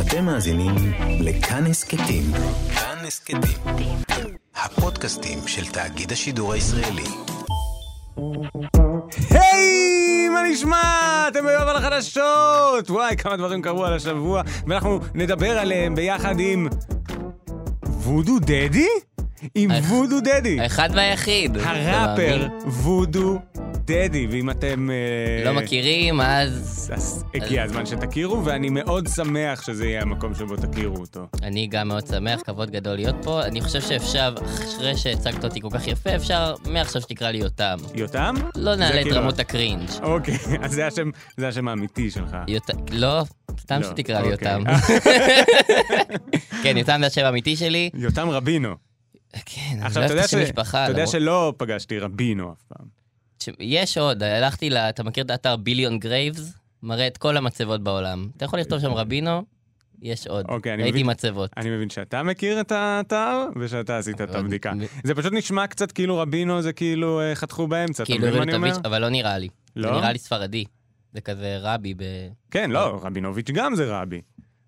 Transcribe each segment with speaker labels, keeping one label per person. Speaker 1: אתם מאזינים לכאן הסכתים. כאן הסכתים. הפודקאסטים של תאגיד השידור הישראלי.
Speaker 2: היי, מה נשמע? אתם היום על החדשות! וואי, כמה דברים קרו על השבוע, ואנחנו נדבר עליהם ביחד עם... וודו דדי? עם
Speaker 3: האח-
Speaker 2: וודו דדי.
Speaker 3: האחד והיחיד.
Speaker 2: הראפר
Speaker 3: אתה
Speaker 2: וודו דדי, ואם אתם... אה,
Speaker 3: מאמין? לא מכירים, אז
Speaker 2: אז הגיע הזמן שתכירו, ואני מאוד שמח שזה יהיה המקום שבו תכירו אותו.
Speaker 3: אני גם מאוד שמח, כבוד גדול להיות פה. אני חושב שאפשר, אחרי שהצגת אותי כל כך יפה, אפשר מעכשיו שתקרא לי יותם.
Speaker 2: יותם?
Speaker 3: לא
Speaker 2: זה
Speaker 3: נעלה את
Speaker 2: כאילו-
Speaker 3: רמות הקרינג'.
Speaker 2: אוקיי, אז זה השם- זה השם האמיתי שלך.
Speaker 3: יותם, לא, סתם
Speaker 2: לא,
Speaker 3: שתקרא לי
Speaker 2: אוקיי.
Speaker 3: יותם. כן, יותם זה השם האמיתי שלי.
Speaker 2: יותם רבינו.
Speaker 3: כן, אני
Speaker 2: עכשיו,
Speaker 3: לא
Speaker 2: אתה
Speaker 3: אוהב את
Speaker 2: יודע,
Speaker 3: השם
Speaker 2: ש...
Speaker 3: משפחה.
Speaker 2: אתה יודע
Speaker 3: למרות-
Speaker 2: שלא פגשתי רבינו אף פעם.
Speaker 3: ש- יש עוד, הלכתי ל... אתה מכיר את האתר ביליון גרייבס? מראה את כל המצבות בעולם. אתה יכול לכתוב שם רבינו, יש עוד.
Speaker 2: אוקיי, אני
Speaker 3: ראיתי
Speaker 2: מבין.
Speaker 3: מצבות.
Speaker 2: אני מבין שאתה מכיר את האתר, ושאתה עשית את הבדיקה. זה פשוט נשמע קצת כאילו רבינו זה כאילו אה, חתכו באמצע, אתה
Speaker 3: כאילו
Speaker 2: מבין מה אני אומר?
Speaker 3: רבינוביץ', אבל לא נראה לי.
Speaker 2: לא?
Speaker 3: זה נראה לי ספרדי. זה כזה רבי ב...
Speaker 2: כן, לא, רבינוביץ' גם זה רבי.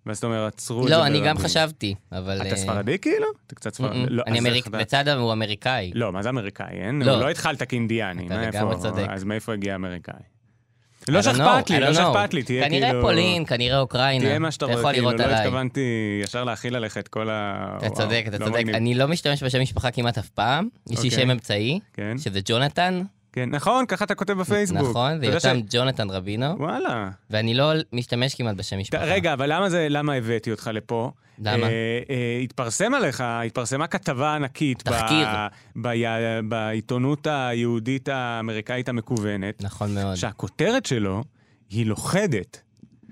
Speaker 2: ואז אתה אומר, עצרו את זה
Speaker 3: אה. לא, אני
Speaker 2: ברבים.
Speaker 3: גם חשבתי, אבל... אה,
Speaker 2: אתה ספרדי כאילו? אתה קצת
Speaker 3: אה, אה,
Speaker 2: ספרדי. לא,
Speaker 3: אני
Speaker 2: אז
Speaker 3: אמריק...
Speaker 2: איך אתה-
Speaker 3: בצד הוא אמריקאי.
Speaker 2: לא, מה זה אמריקאי? אין?
Speaker 3: לא.
Speaker 2: הוא לא התחלת כאינדיאני.
Speaker 3: אתה
Speaker 2: מה, איפה-
Speaker 3: לגמרי צודק.
Speaker 2: אז מאיפה הגיע אמריקאי?
Speaker 3: I
Speaker 2: לא
Speaker 3: don't
Speaker 2: שאכפת
Speaker 3: know,
Speaker 2: לי,
Speaker 3: I
Speaker 2: לא
Speaker 3: don't know.
Speaker 2: שאכפת לי, תהיה כאילו...
Speaker 3: כנראה פולין, כנראה אוקראינה.
Speaker 2: תהיה מה שאתה
Speaker 3: אתה יכול
Speaker 2: רואה, כאילו,
Speaker 3: לראות
Speaker 2: לא
Speaker 3: עליי.
Speaker 2: התכוונתי ישר להכיל עליך את כל ה...
Speaker 3: אתה
Speaker 2: וואו,
Speaker 3: צודק, אתה
Speaker 2: לא
Speaker 3: צודק.
Speaker 2: מגניב.
Speaker 3: אני לא משתמש בשם משפחה כמעט אף פעם. יש לי
Speaker 2: אוקיי.
Speaker 3: שם אמצעי,
Speaker 2: כן,
Speaker 3: שזה ג'ונתן.
Speaker 2: כן, נכון, ככה אתה כותב בפייסבוק.
Speaker 3: נכון,
Speaker 2: אתה יודע ש-
Speaker 3: ויותם ג'ונתן רבינו,
Speaker 2: וואלה.
Speaker 3: ואני לא משתמש כמעט בשם
Speaker 2: ת-
Speaker 3: משפחה.
Speaker 2: רגע, אבל למה זה, למה הבאתי אותך לפה?
Speaker 3: למה?
Speaker 2: אה, אה, התפרסם עליך, התפרסמה כתבה ענקית. ב-
Speaker 3: תחקיר.
Speaker 2: ב- בעיתונות היהודית האמריקאית המקוונת,
Speaker 3: נכון מאוד.
Speaker 2: שהכותרת שלו היא לוכדת.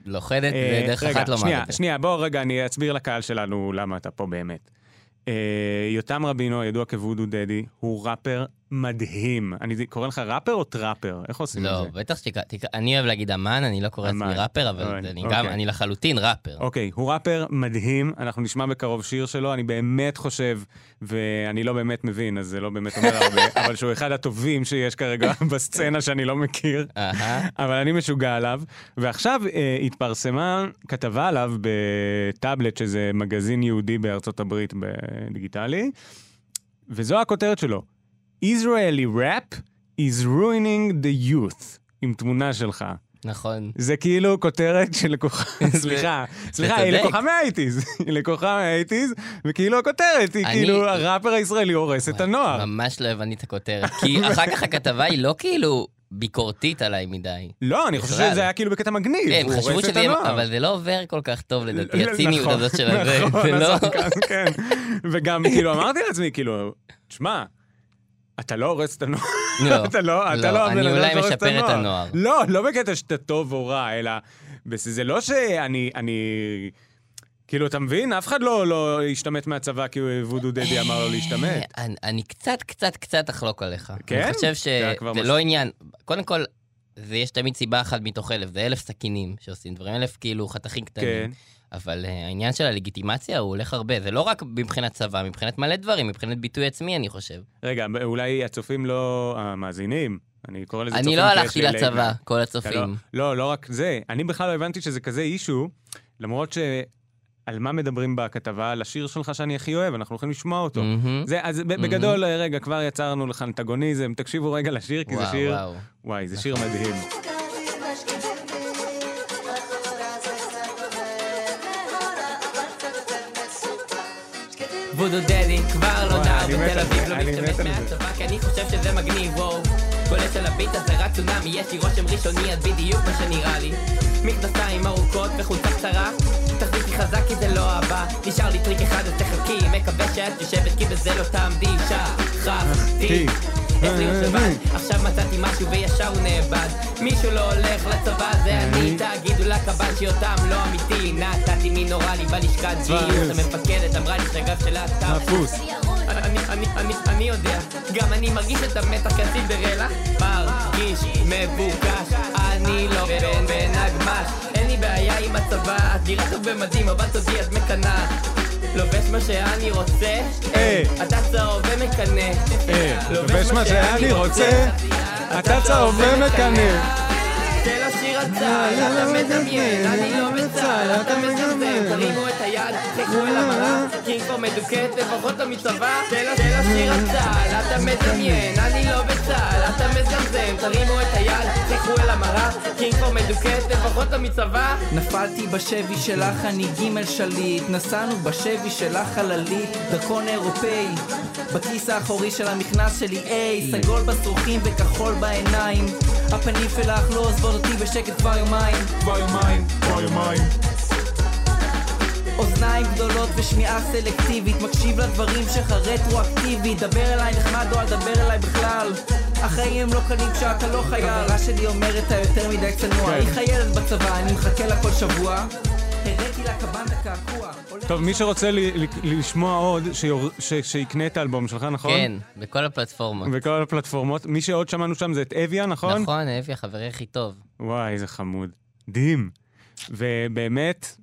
Speaker 3: לוכדת,
Speaker 2: אה,
Speaker 3: זה דרך
Speaker 2: רגע,
Speaker 3: כן, אחת לא לומר
Speaker 2: שנייה,
Speaker 3: את זה.
Speaker 2: שנייה, בוא רגע, אני אסביר לקהל שלנו למה אתה פה באמת. אה, יותם רבינו, ידוע כוודו דדי, הוא ראפר מדהים. אני קורא לך ראפר או טראפר? איך עושים את
Speaker 3: לא,
Speaker 2: זה?
Speaker 3: בטח שתקרא, תקרא- אני אוהב להגיד אמן, אני לא קורא לעצמי
Speaker 2: אמן.
Speaker 3: ראפר, אבל
Speaker 2: אמן,
Speaker 3: זה אני
Speaker 2: אוקיי.
Speaker 3: גם, אני לחלוטין ראפר.
Speaker 2: אוקיי, הוא ראפר מדהים, אנחנו נשמע בקרוב שיר שלו, אני באמת חושב, ואני לא באמת מבין, אז זה לא באמת אומר הרבה, אבל שהוא אחד הטובים שיש כרגע בסצנה שאני לא מכיר.
Speaker 3: אהה.
Speaker 2: אבל אני משוגע עליו. ועכשיו אה, התפרסמה כתבה עליו בטאבלט, שזה מגזין יהודי בארצות הברית בדיגיטלי, וזו הכותרת שלו: Israeli rap is ruining the youth. עם תמונה שלך.
Speaker 3: נכון.
Speaker 2: זה כאילו כותרת שלקוחה,
Speaker 3: זה-
Speaker 2: סליחה,
Speaker 3: זה
Speaker 2: סליחה, היא
Speaker 3: צודק.
Speaker 2: לקוחה מהאייטיז, היא לקוחה מהאייטיז, וכאילו הכותרת היא
Speaker 3: אני-
Speaker 2: כאילו הראפר הישראלי הורס את
Speaker 3: וואי,
Speaker 2: הנוער.
Speaker 3: ממש לא הבנתי את הכותרת, כי אחר כך הכתבה היא לא כאילו ביקורתית עליי מדי.
Speaker 2: לא, אני חושב
Speaker 3: בכלל.
Speaker 2: שזה היה כאילו בקטע מגניב,
Speaker 3: כן,
Speaker 2: הוא
Speaker 3: חשבו
Speaker 2: הורס את
Speaker 3: שזה,
Speaker 2: הנוער.
Speaker 3: אבל זה לא עובר כל כך טוב לדעתי,
Speaker 2: ל-
Speaker 3: הציניות
Speaker 2: נכון,
Speaker 3: הזאת של הזה, זה
Speaker 2: נכון,
Speaker 3: לא...
Speaker 2: הסרקזם, כן. וגם כאילו אמרתי לעצמי, כאילו, תשמע, אתה לא הורס את הנוער.
Speaker 3: לא.
Speaker 2: אתה לא, אתה
Speaker 3: לא,
Speaker 2: לא,
Speaker 3: אני
Speaker 2: הבן אדם
Speaker 3: אולי
Speaker 2: שהורס
Speaker 3: משפר את הנוער.
Speaker 2: לא, לא בקטע שאתה טוב או רע, אלא בס- זה לא שאני, אני... כאילו, אתה מבין? אף אחד לא לא השתמט מהצבא כי וודו דדי אמר לו להשתמט.
Speaker 3: אה, אני- אני קצת, קצת, קצת אחלוק עליך.
Speaker 2: כן?
Speaker 3: אני חושב שזה
Speaker 2: אתה כבר מס-
Speaker 3: לא עניין. קודם כל, זה יש תמיד סיבה אחת מתוך אלף, זה אלף סכינים שעושים דברים, אלף כאילו חתכים
Speaker 2: כן.
Speaker 3: קטנים. אבל אה, העניין של הלגיטימציה הוא הולך הרבה, זה לא רק מבחינת צבא, מבחינת מלא דברים, מבחינת ביטוי עצמי, אני חושב.
Speaker 2: כן. רגע, אולי הצופים לא... המאזינים, אני קורא לזה צופים
Speaker 3: אני לא
Speaker 2: כי יש
Speaker 3: הלכתי
Speaker 2: לי late night.
Speaker 3: לצבא, כל
Speaker 2: אתה לא,
Speaker 3: הצופים.
Speaker 2: לא, לא רק זה. אני בכלל לא הבנתי שזה כזה אישו, למרות ש... על מה מדברים בכתבה? על השיר שלך שאני הכי אוהב, אנחנו הולכים לשמוע אותו.
Speaker 3: מהמם.
Speaker 2: זה, אז
Speaker 3: Mm-hmm.
Speaker 2: ב- בגדול, רגע, כבר יצרנו לך אנטגוניזם, תקשיבו רגע לשיר, כי זה
Speaker 3: וואו,
Speaker 2: שיר...
Speaker 3: וואו.
Speaker 2: וואי, זה שיר מדהים.
Speaker 3: וודו דדי כבר לא
Speaker 2: וואי,
Speaker 3: נער
Speaker 2: אני מת על
Speaker 3: בתל אביב
Speaker 2: זה,
Speaker 3: לא
Speaker 2: אני
Speaker 3: משתמש
Speaker 2: מת על זה.
Speaker 3: מהצבא כי אני חושב שזה מגניב וואו גולש על הביט הזה רק צונאמי יש לי רושם ראשוני אז בדיוק מה שנראה לי מכנסיים ארוכות וחולצה קצרה תחזיקי חזק כי זה לא הבא נשאר לי טריק אחד אז תחכי מקווה שאת יושבת כי בזה לא תעמדי שכחתי איך להיות
Speaker 2: אה,
Speaker 3: לבד עכשיו מצאתי משהו וישר הוא נאבד מישהו לא הולך לצבא זה
Speaker 2: אה,
Speaker 3: אני תגידו לקב"ן שיותם לא אמיתי נתתי מי נורא לי בלשכת גיוס המפקדת אמרה לי שהגב שלה טף
Speaker 2: הפוס.
Speaker 3: אני, אני, אני, אני יודע, גם אני מרגיש את המתח קצין ברלה מרגיש מבוקש, אני לא בן בן הגמש אין לי בעיה עם הצבא, את נראית טוב במדים, אבל תודי את מקנאה לובש מה שאני רוצה,
Speaker 2: אה.
Speaker 3: אתה צהוב ומקנא
Speaker 2: אה, לובש מה שאני רוצה, אתה צהוב ומקנא.
Speaker 3: תן לשיר הצה"ל, אתה מדמיין, אני לא בצה"ל, אתה מזמזם, תרימו את תלכו אל המראה, קינקו מדוכאת לפחות לא מצבא, תן לו- תן לו שיר הצה"ל, אתה מדמיין, אני לא בצה"ל, אתה מזמזם, תרימו את היד, תלכו אל המראה, קינקו מדוכאת לפחות לא מצבא,
Speaker 4: נפלתי בשבי שלך, אני ג' שליט. נסענו בשבי שלך חללית, דרכון אירופאי. בכיס האחורי של המכנס שלי, איי, סגול בשרוכים וכחול בעיניים. הפנים שלך לא עוזבות אותי בשקט כבר יומיים.
Speaker 5: כבר יומיים, כבר יומיים.
Speaker 4: אוזניים גדולות ושמיעה סלקטיבית מקשיב לדברים שלך רטרואקטיבית דבר אליי נחמד או אל דבר אליי בכלל החיים הם לא קלים כשאתה לא חייל חברה שלי אומרת אתה יותר מדי צנוע היא חיילת בצבא אני מחכה לה כל שבוע הראתי לה קבנדה קעקוע הולך-
Speaker 2: טוב, מי שרוצה ל- ל- לשמוע עוד, שיור- ש- שיקנה את האלבום שלך, נכון?
Speaker 6: כן, בכל הפלטפורמות.
Speaker 2: בכל הפלטפורמות. מי שעוד שמענו שם זה את אביה, נכון?
Speaker 6: נכון, אבי החברי הכי טוב.
Speaker 2: וואי, איזה חמוד. מדהים. ובאמת,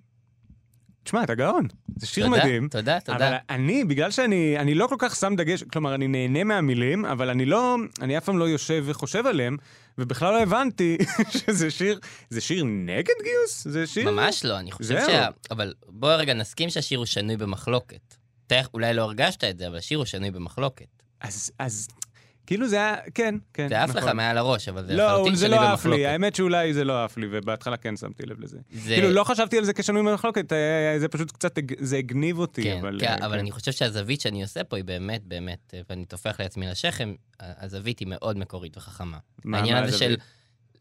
Speaker 2: תשמע, אתה גאון. זה שיר
Speaker 6: תודה,
Speaker 2: מדהים.
Speaker 6: תודה,
Speaker 2: אבל
Speaker 6: תודה.
Speaker 2: אני, בגלל שאני אני לא כל כך שם דגש, כלומר, אני נהנה מהמילים, אבל אני לא, אני אף פעם לא יושב וחושב עליהם, ובכלל לא הבנתי שזה שיר, זה שיר נגד גיוס? זה שיר...
Speaker 6: ממש לא, אני חושב
Speaker 2: כאילו, זהו.
Speaker 6: שה... אבל בוא רגע נסכים שהשיר הוא שנוי במחלוקת. אתה אולי לא הרגשת את זה, אבל השיר הוא שנוי במחלוקת.
Speaker 2: אז, אז, כאילו זה היה, כן, כן.
Speaker 6: זה עף
Speaker 2: נכון.
Speaker 6: לך מעל הראש, אבל זה
Speaker 2: לא,
Speaker 6: לחלוטין
Speaker 2: זה
Speaker 6: שנוי
Speaker 2: לא עף לי,
Speaker 6: במחלוקת.
Speaker 2: האמת שאולי זה לא עף לי, ובהתחלה כן שמתי לב לזה.
Speaker 6: זה-
Speaker 2: כאילו, לא חשבתי על זה כשנוי במחלוקת, אה, זה פשוט קצת, הג- זה הגניב אותי,
Speaker 6: כן,
Speaker 2: אבל...
Speaker 6: כן,
Speaker 2: אה,
Speaker 6: אבל אני חושב שהזווית שאני עושה פה היא באמת, באמת, אה, ואני טופח לעצמי לשכם, ה- הזווית היא מאוד מקורית וחכמה.
Speaker 2: מה-
Speaker 6: העניין
Speaker 2: מה
Speaker 6: הזה של
Speaker 2: הזווית?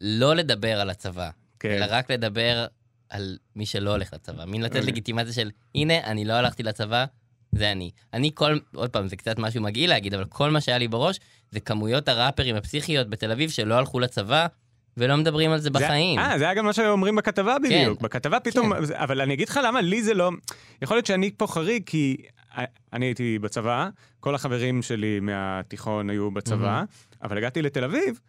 Speaker 6: לא לדבר על הצבא,
Speaker 2: כן.
Speaker 6: אלא רק לדבר על מי שלא הולך לצבא. מין לתת
Speaker 2: אוקיי.
Speaker 6: לגיטימציה של, הנה, אני לא הלכתי לצבא, זה אני. אני כל, עוד פעם, זה קצת משהו מגעיל להגיד, אבל כל מה שהיה לי בראש, זה כמויות הראפרים הפסיכיות בתל אביב שלא הלכו לצבא, ולא מדברים על זה
Speaker 2: זה-
Speaker 6: בחיים. כן.
Speaker 2: אה, זה היה גם מה שאומרים בכתבה בדיוק. בכתבה פתאום, אבל אני אגיד לך למה לי זה לא... יכול להיות שאני פה חריג, כי אה, אני הייתי בצבא, כל החברים שלי מהתיכון היו בצבא, אבל הגעתי לתל אביב.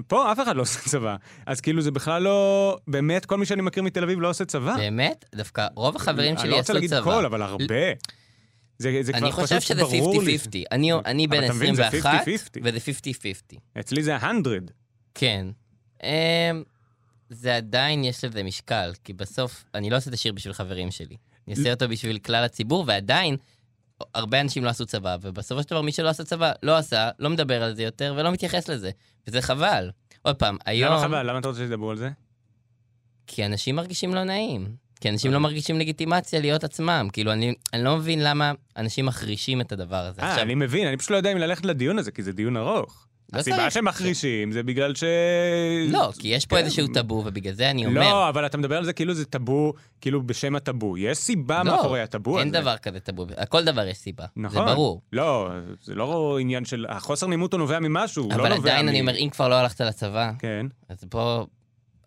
Speaker 2: ופה אף אחד לא עושה צבא, אז כאילו זה בכלל לא, באמת כל מי שאני מכיר מתל אביב לא עושה צבא.
Speaker 6: באמת, דווקא רוב החברים
Speaker 2: אני
Speaker 6: כן, שלי
Speaker 2: לא רוצה
Speaker 6: עשו
Speaker 2: להגיד
Speaker 6: צבא.
Speaker 2: כל, אבל הרבה. זה, זה
Speaker 6: אני
Speaker 2: כבר
Speaker 6: חושב
Speaker 2: פשוט
Speaker 6: שזה 50-50.
Speaker 2: ברור לי.
Speaker 6: אני, אני
Speaker 2: אבל
Speaker 6: בן
Speaker 2: אתה מבין, זה
Speaker 6: 21,
Speaker 2: 50-50.
Speaker 6: וזה 50-50.
Speaker 2: אצלי זה 100.
Speaker 6: כן. אמ, זה עדיין יש לזה משקל, כי בסוף אני לא עושה את השיר בשביל חברים שלי. אני עושה אותו בשביל כלל הציבור, ועדיין הרבה אנשים לא עשו צבא, ובסופו של דבר מי שלא עשה צבא לא עשה, לא מדבר על זה יותר ולא מתייחס לזה, וזה חבל. עוד פעם, היום...
Speaker 2: למה חבל? למה אתה רוצה שידברו על זה?
Speaker 6: כי אנשים מרגישים לא נעים. כי אנשים
Speaker 2: אוקיי.
Speaker 6: לא מרגישים לגיטימציה להיות עצמם. כאילו, אני, אני לא מבין למה אנשים מחרישים את הדבר הזה.
Speaker 2: אה, אני מבין, אני פשוט לא יודע אם ללכת לדיון הזה, כי זה דיון ארוך.
Speaker 6: לא
Speaker 2: הסיבה
Speaker 6: צריך.
Speaker 2: שמחרישים זה בגלל ש...
Speaker 6: לא, כי יש פה
Speaker 2: כן.
Speaker 6: איזשהו טאבו, ובגלל זה אני אומר...
Speaker 2: לא, אבל אתה מדבר על זה כאילו זה טאבו, כאילו בשם הטאבו. יש סיבה מאחורי הטאבו הזה.
Speaker 6: לא, אין דבר כזה טאבו, לכל דבר יש סיבה,
Speaker 2: נכון.
Speaker 6: זה ברור.
Speaker 2: לא, זה לא עניין של... החוסר נימות הוא נובע ממשהו, הוא לא
Speaker 6: אבל
Speaker 2: נובע מ...
Speaker 6: עדיין אני אומר, אם כבר לא הלכת לצבא,
Speaker 2: כן.
Speaker 6: אז פה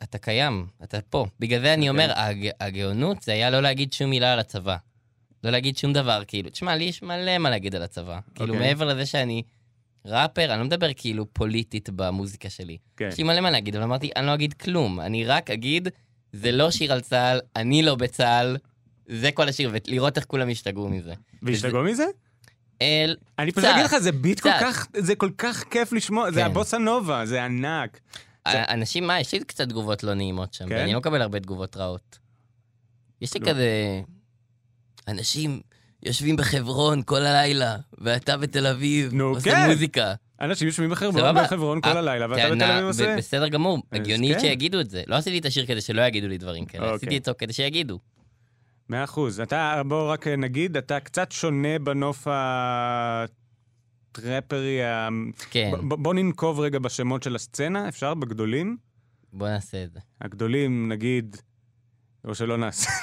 Speaker 6: אתה קיים, אתה פה. בגלל זה אני
Speaker 2: אוקיי.
Speaker 6: אומר, הג- הגאונות זה היה לא להגיד שום מילה על הצבא. לא להגיד שום דבר, כאילו, תשמע, לי יש מלא מה להגיד על הצבא. כאילו,
Speaker 2: אוקיי.
Speaker 6: מעבר לזה שאני ראפר, אני לא מדבר כאילו פוליטית במוזיקה שלי.
Speaker 2: כן.
Speaker 6: יש לי מלא מה להגיד, אבל אמרתי, אני לא אגיד כלום, אני רק אגיד, זה לא שיר על צה"ל, אני לא בצה"ל, זה כל השיר, ולראות איך כולם השתגעו מזה.
Speaker 2: והשתגעו מזה?
Speaker 6: אל...
Speaker 2: אני פשוט
Speaker 6: קצת,
Speaker 2: אגיד לך, זה ביט כל
Speaker 6: קצת.
Speaker 2: כך, זה כל כך כיף לשמוע, זה
Speaker 6: כן.
Speaker 2: הבוסה נובה, זה ענק.
Speaker 6: אנשים, מה, יש לי קצת תגובות לא נעימות שם,
Speaker 2: כן?
Speaker 6: ואני לא מקבל הרבה תגובות רעות. יש לי
Speaker 2: לא.
Speaker 6: כזה... אנשים יושבים בחברון כל הלילה, ואתה בתל אביב,
Speaker 2: נו,
Speaker 6: עושה
Speaker 2: כן.
Speaker 6: מוזיקה.
Speaker 2: אנשים יושבים בחברון,
Speaker 6: סבבה.
Speaker 2: בחברון כל
Speaker 6: אה,
Speaker 2: הלילה, ואתה
Speaker 6: טענה
Speaker 2: בתל אביב עושה?
Speaker 6: ב- בסדר גמור,
Speaker 2: אז
Speaker 6: הגיוני
Speaker 2: כן.
Speaker 6: שיגידו את זה. לא עשיתי את השיר כדי שלא יגידו לי דברים כאלה,
Speaker 2: אוקיי.
Speaker 6: עשיתי אותו כדי שיגידו.
Speaker 2: מאה אחוז. אתה, בוא רק אה, נגיד, אתה קצת שונה בנוף הטרפרי, ה...
Speaker 6: כן,
Speaker 2: ב- ב- בוא ננקוב רגע בשמות של הסצנה, אפשר? בגדולים?
Speaker 6: בוא נעשה את זה.
Speaker 2: הגדולים, נגיד... או שלא נעשה.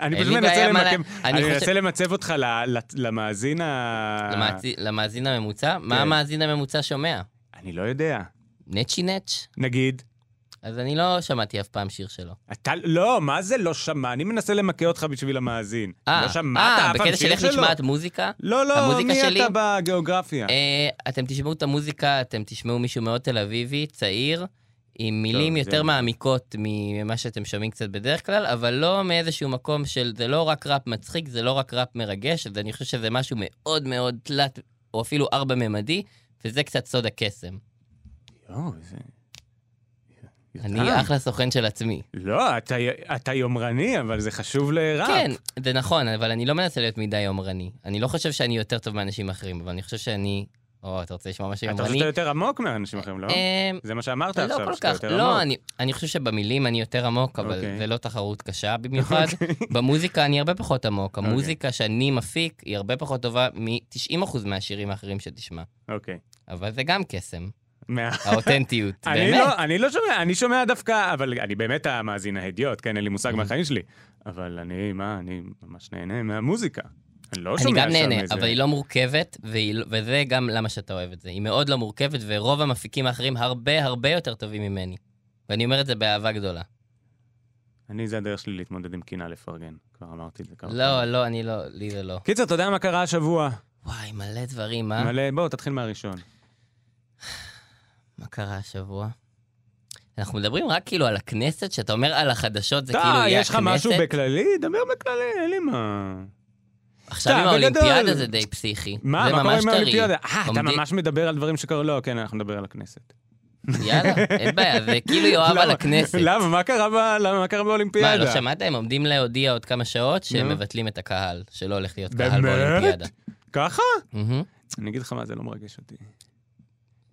Speaker 2: אני
Speaker 6: אין
Speaker 2: פשוט
Speaker 6: לי בעיה,
Speaker 2: מנסה
Speaker 6: מה
Speaker 2: למקם,
Speaker 6: לה- אני
Speaker 2: אני
Speaker 6: חושב-
Speaker 2: מנסה למצב אותך ל- ל- למאזין ה...
Speaker 6: למאזי-
Speaker 2: אה.
Speaker 6: למאזין הממוצע,
Speaker 2: כן.
Speaker 6: מה המאזין הממוצע שומע?
Speaker 2: אני לא יודע.
Speaker 6: נצ'י נץ'?
Speaker 2: נגיד,
Speaker 6: אז אני לא שמעתי אף פעם שיר שלו.
Speaker 2: אתה, לא, מה זה לא שמע? אני מנסה למכה אותך בשביל המאזין. לא שמעת
Speaker 6: אה,
Speaker 2: אף פעם
Speaker 6: בקטע של
Speaker 2: שיר
Speaker 6: איך
Speaker 2: שלו?
Speaker 6: נשמעת מוזיקה?
Speaker 2: לא, לא,
Speaker 6: המוזיקה
Speaker 2: מי
Speaker 6: שלי?
Speaker 2: אתה בגיאוגרפיה?
Speaker 6: אה, אתם תשמעו את המוזיקה, אתם תשמעו מישהו מאוד תל אביבי, צעיר, עם מילים
Speaker 2: זה-
Speaker 6: יותר מעמיקות ממה שאתם שומעים קצת בדרך כלל, אבל לא מאיזשהו מקום של, זה לא רק ראפ מצחיק, זה לא רק ראפ מרגש, אז אני חושב שזה משהו מאוד מאוד תלת, או אפילו ארבע-ממדי, וזה קצת סוד הקסם.
Speaker 2: יואו, איזה...
Speaker 6: אני אחלה סוכן של עצמי.
Speaker 2: לא, אתה, אתה יומרני, אבל זה חשוב לראפ.
Speaker 6: כן, זה נכון, אבל אני לא מנסה להיות מדי יומרני. אני לא חושב שאני יותר טוב מאנשים אחרים, אבל אני חושב שאני... או, אתה רוצה לשמוע משהו
Speaker 2: אתה
Speaker 6: יומרני?
Speaker 2: חושב שאתה יותר עמוק מאנשים אחרים, לא?
Speaker 6: אמ,
Speaker 2: זה מה שאמרת
Speaker 6: לא
Speaker 2: עכשיו,
Speaker 6: כל
Speaker 2: שאתה
Speaker 6: כך,
Speaker 2: יותר
Speaker 6: לא,
Speaker 2: עמוק.
Speaker 6: אני, אני חושב שבמילים אני יותר עמוק, אבל
Speaker 2: אוקיי.
Speaker 6: זה לא תחרות קשה במיוחד.
Speaker 2: אוקיי.
Speaker 6: במוזיקה אני הרבה פחות עמוק.
Speaker 2: אוקיי.
Speaker 6: המוזיקה שאני מפיק היא הרבה פחות טובה מ-90% מהשירים האחרים שתשמע.
Speaker 2: אוקיי.
Speaker 6: אבל זה גם קסם,
Speaker 2: מה-
Speaker 6: האותנטיות,
Speaker 2: אני
Speaker 6: באמת.
Speaker 2: לא, אני לא שומע, אני שומע דווקא, אבל אני באמת המאזין ההדיוט, כן, אין לי מושג מהחיים שלי. אבל אני, מה, אני ממש נהנה מהמוזיקה. אני לא
Speaker 6: אני
Speaker 2: שומע
Speaker 6: גם
Speaker 2: שם
Speaker 6: נהנה,
Speaker 2: איזה-
Speaker 6: אבל היא לא מורכבת, והיא לא- וזה גם למה שאתה אוהב את זה. היא מאוד לא מורכבת, ורוב המפיקים האחרים הרבה הרבה יותר טובים ממני. ואני אומר את זה באהבה גדולה.
Speaker 2: אני, זה הדרך שלי להתמודד עם קינה לפרגן. כבר אמרתי את זה כמה
Speaker 6: לא, לא, אני לא, לי זה לא.
Speaker 2: קיצר, אתה יודע מה קרה השבוע?
Speaker 6: וואי, מלא דברים, אה?
Speaker 2: מלא, בוא, תתחיל מהראשון.
Speaker 6: מה קרה השבוע? אנחנו מדברים רק כאילו על הכנסת, שאתה אומר על החדשות, זה כאילו
Speaker 2: אתה,
Speaker 6: יהיה
Speaker 2: יש לך
Speaker 6: הכנסת.
Speaker 2: משהו בכללי? דבר בכללי, אין לי מה...
Speaker 6: עכשיו עם
Speaker 2: אתה, בגדול.
Speaker 6: האולימפיאדה זה די פסיכי.
Speaker 2: מה,
Speaker 6: זה
Speaker 2: מה קורה
Speaker 6: ממש
Speaker 2: עם
Speaker 6: טרי.
Speaker 2: האולימפיאדה? אה, אתה
Speaker 6: עומדים-
Speaker 2: ממש מדבר על דברים שקרו? לא, כן, אנחנו נדבר על הכנסת.
Speaker 6: יאללה, אין בעיה, זה כאילו יואב על
Speaker 2: למה?
Speaker 6: הכנסת.
Speaker 2: למה? מה קרה ב- למה? מה קרה
Speaker 6: מה,
Speaker 2: באולימפיאדה?
Speaker 6: לא שמעת? הם עומדים להודיע עוד כמה שעות שהם
Speaker 2: נו.
Speaker 6: מבטלים את הקהל, שלא הולך להיות קהל
Speaker 2: באמת?
Speaker 6: באולימפיאדה.
Speaker 2: ככה?
Speaker 6: מהמם.
Speaker 2: אני אגיד לך מה, זה לא מרגש אותי.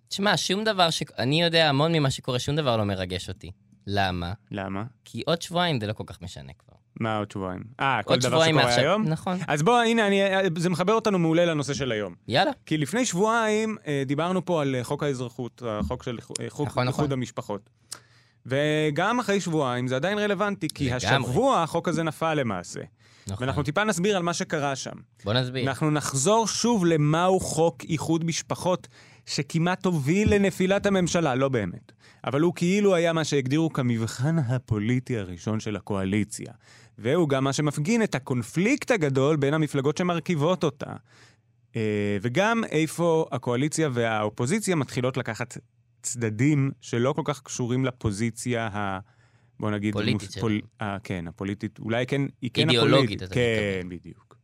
Speaker 6: תשמע, שום דבר ש... אני יודע המון ממה שקורה, שום דבר לא מרגש אותי. למה?
Speaker 2: למה?
Speaker 6: כי עוד שבועיים זה לא כל כך משנה כבר.
Speaker 2: מה עוד שבועיים? אה, כל
Speaker 6: עוד
Speaker 2: דבר
Speaker 6: שבועיים
Speaker 2: שקורה
Speaker 6: מעכשיו-
Speaker 2: היום?
Speaker 6: נכון.
Speaker 2: אז בוא, הנה, אני, זה מחבר אותנו מעולה לנושא של היום.
Speaker 6: יאללה.
Speaker 2: כי לפני שבועיים אה, דיברנו פה על אה, חוק האזרחות, החוק של אה, חוק
Speaker 6: נכון,
Speaker 2: איחוד
Speaker 6: נכון.
Speaker 2: המשפחות. וגם אחרי שבועיים זה עדיין רלוונטי, כי
Speaker 6: לגמרי.
Speaker 2: השבוע החוק הזה נפל למעשה.
Speaker 6: נכון.
Speaker 2: ואנחנו טיפה נסביר על מה שקרה שם.
Speaker 6: בוא נסביר.
Speaker 2: אנחנו נחזור שוב למהו חוק איחוד משפחות, שכמעט הוביל לנפילת הממשלה, לא באמת. אבל הוא כאילו היה מה שהגדירו כמבחן הפוליטי הראשון של הקואליציה. והוא גם מה שמפגין את הקונפליקט הגדול בין המפלגות שמרכיבות אותה. אה, וגם איפה הקואליציה והאופוזיציה מתחילות לקחת צדדים שלא כל כך קשורים לפוזיציה ה... בוא נגיד...
Speaker 6: פוליטית
Speaker 2: מוס-
Speaker 6: שלהם.
Speaker 2: פול... אה, כן, הפוליטית. אולי כן, היא כן הפוליטית.
Speaker 6: אידיאולוגית, אתה
Speaker 2: כן, בדיוק.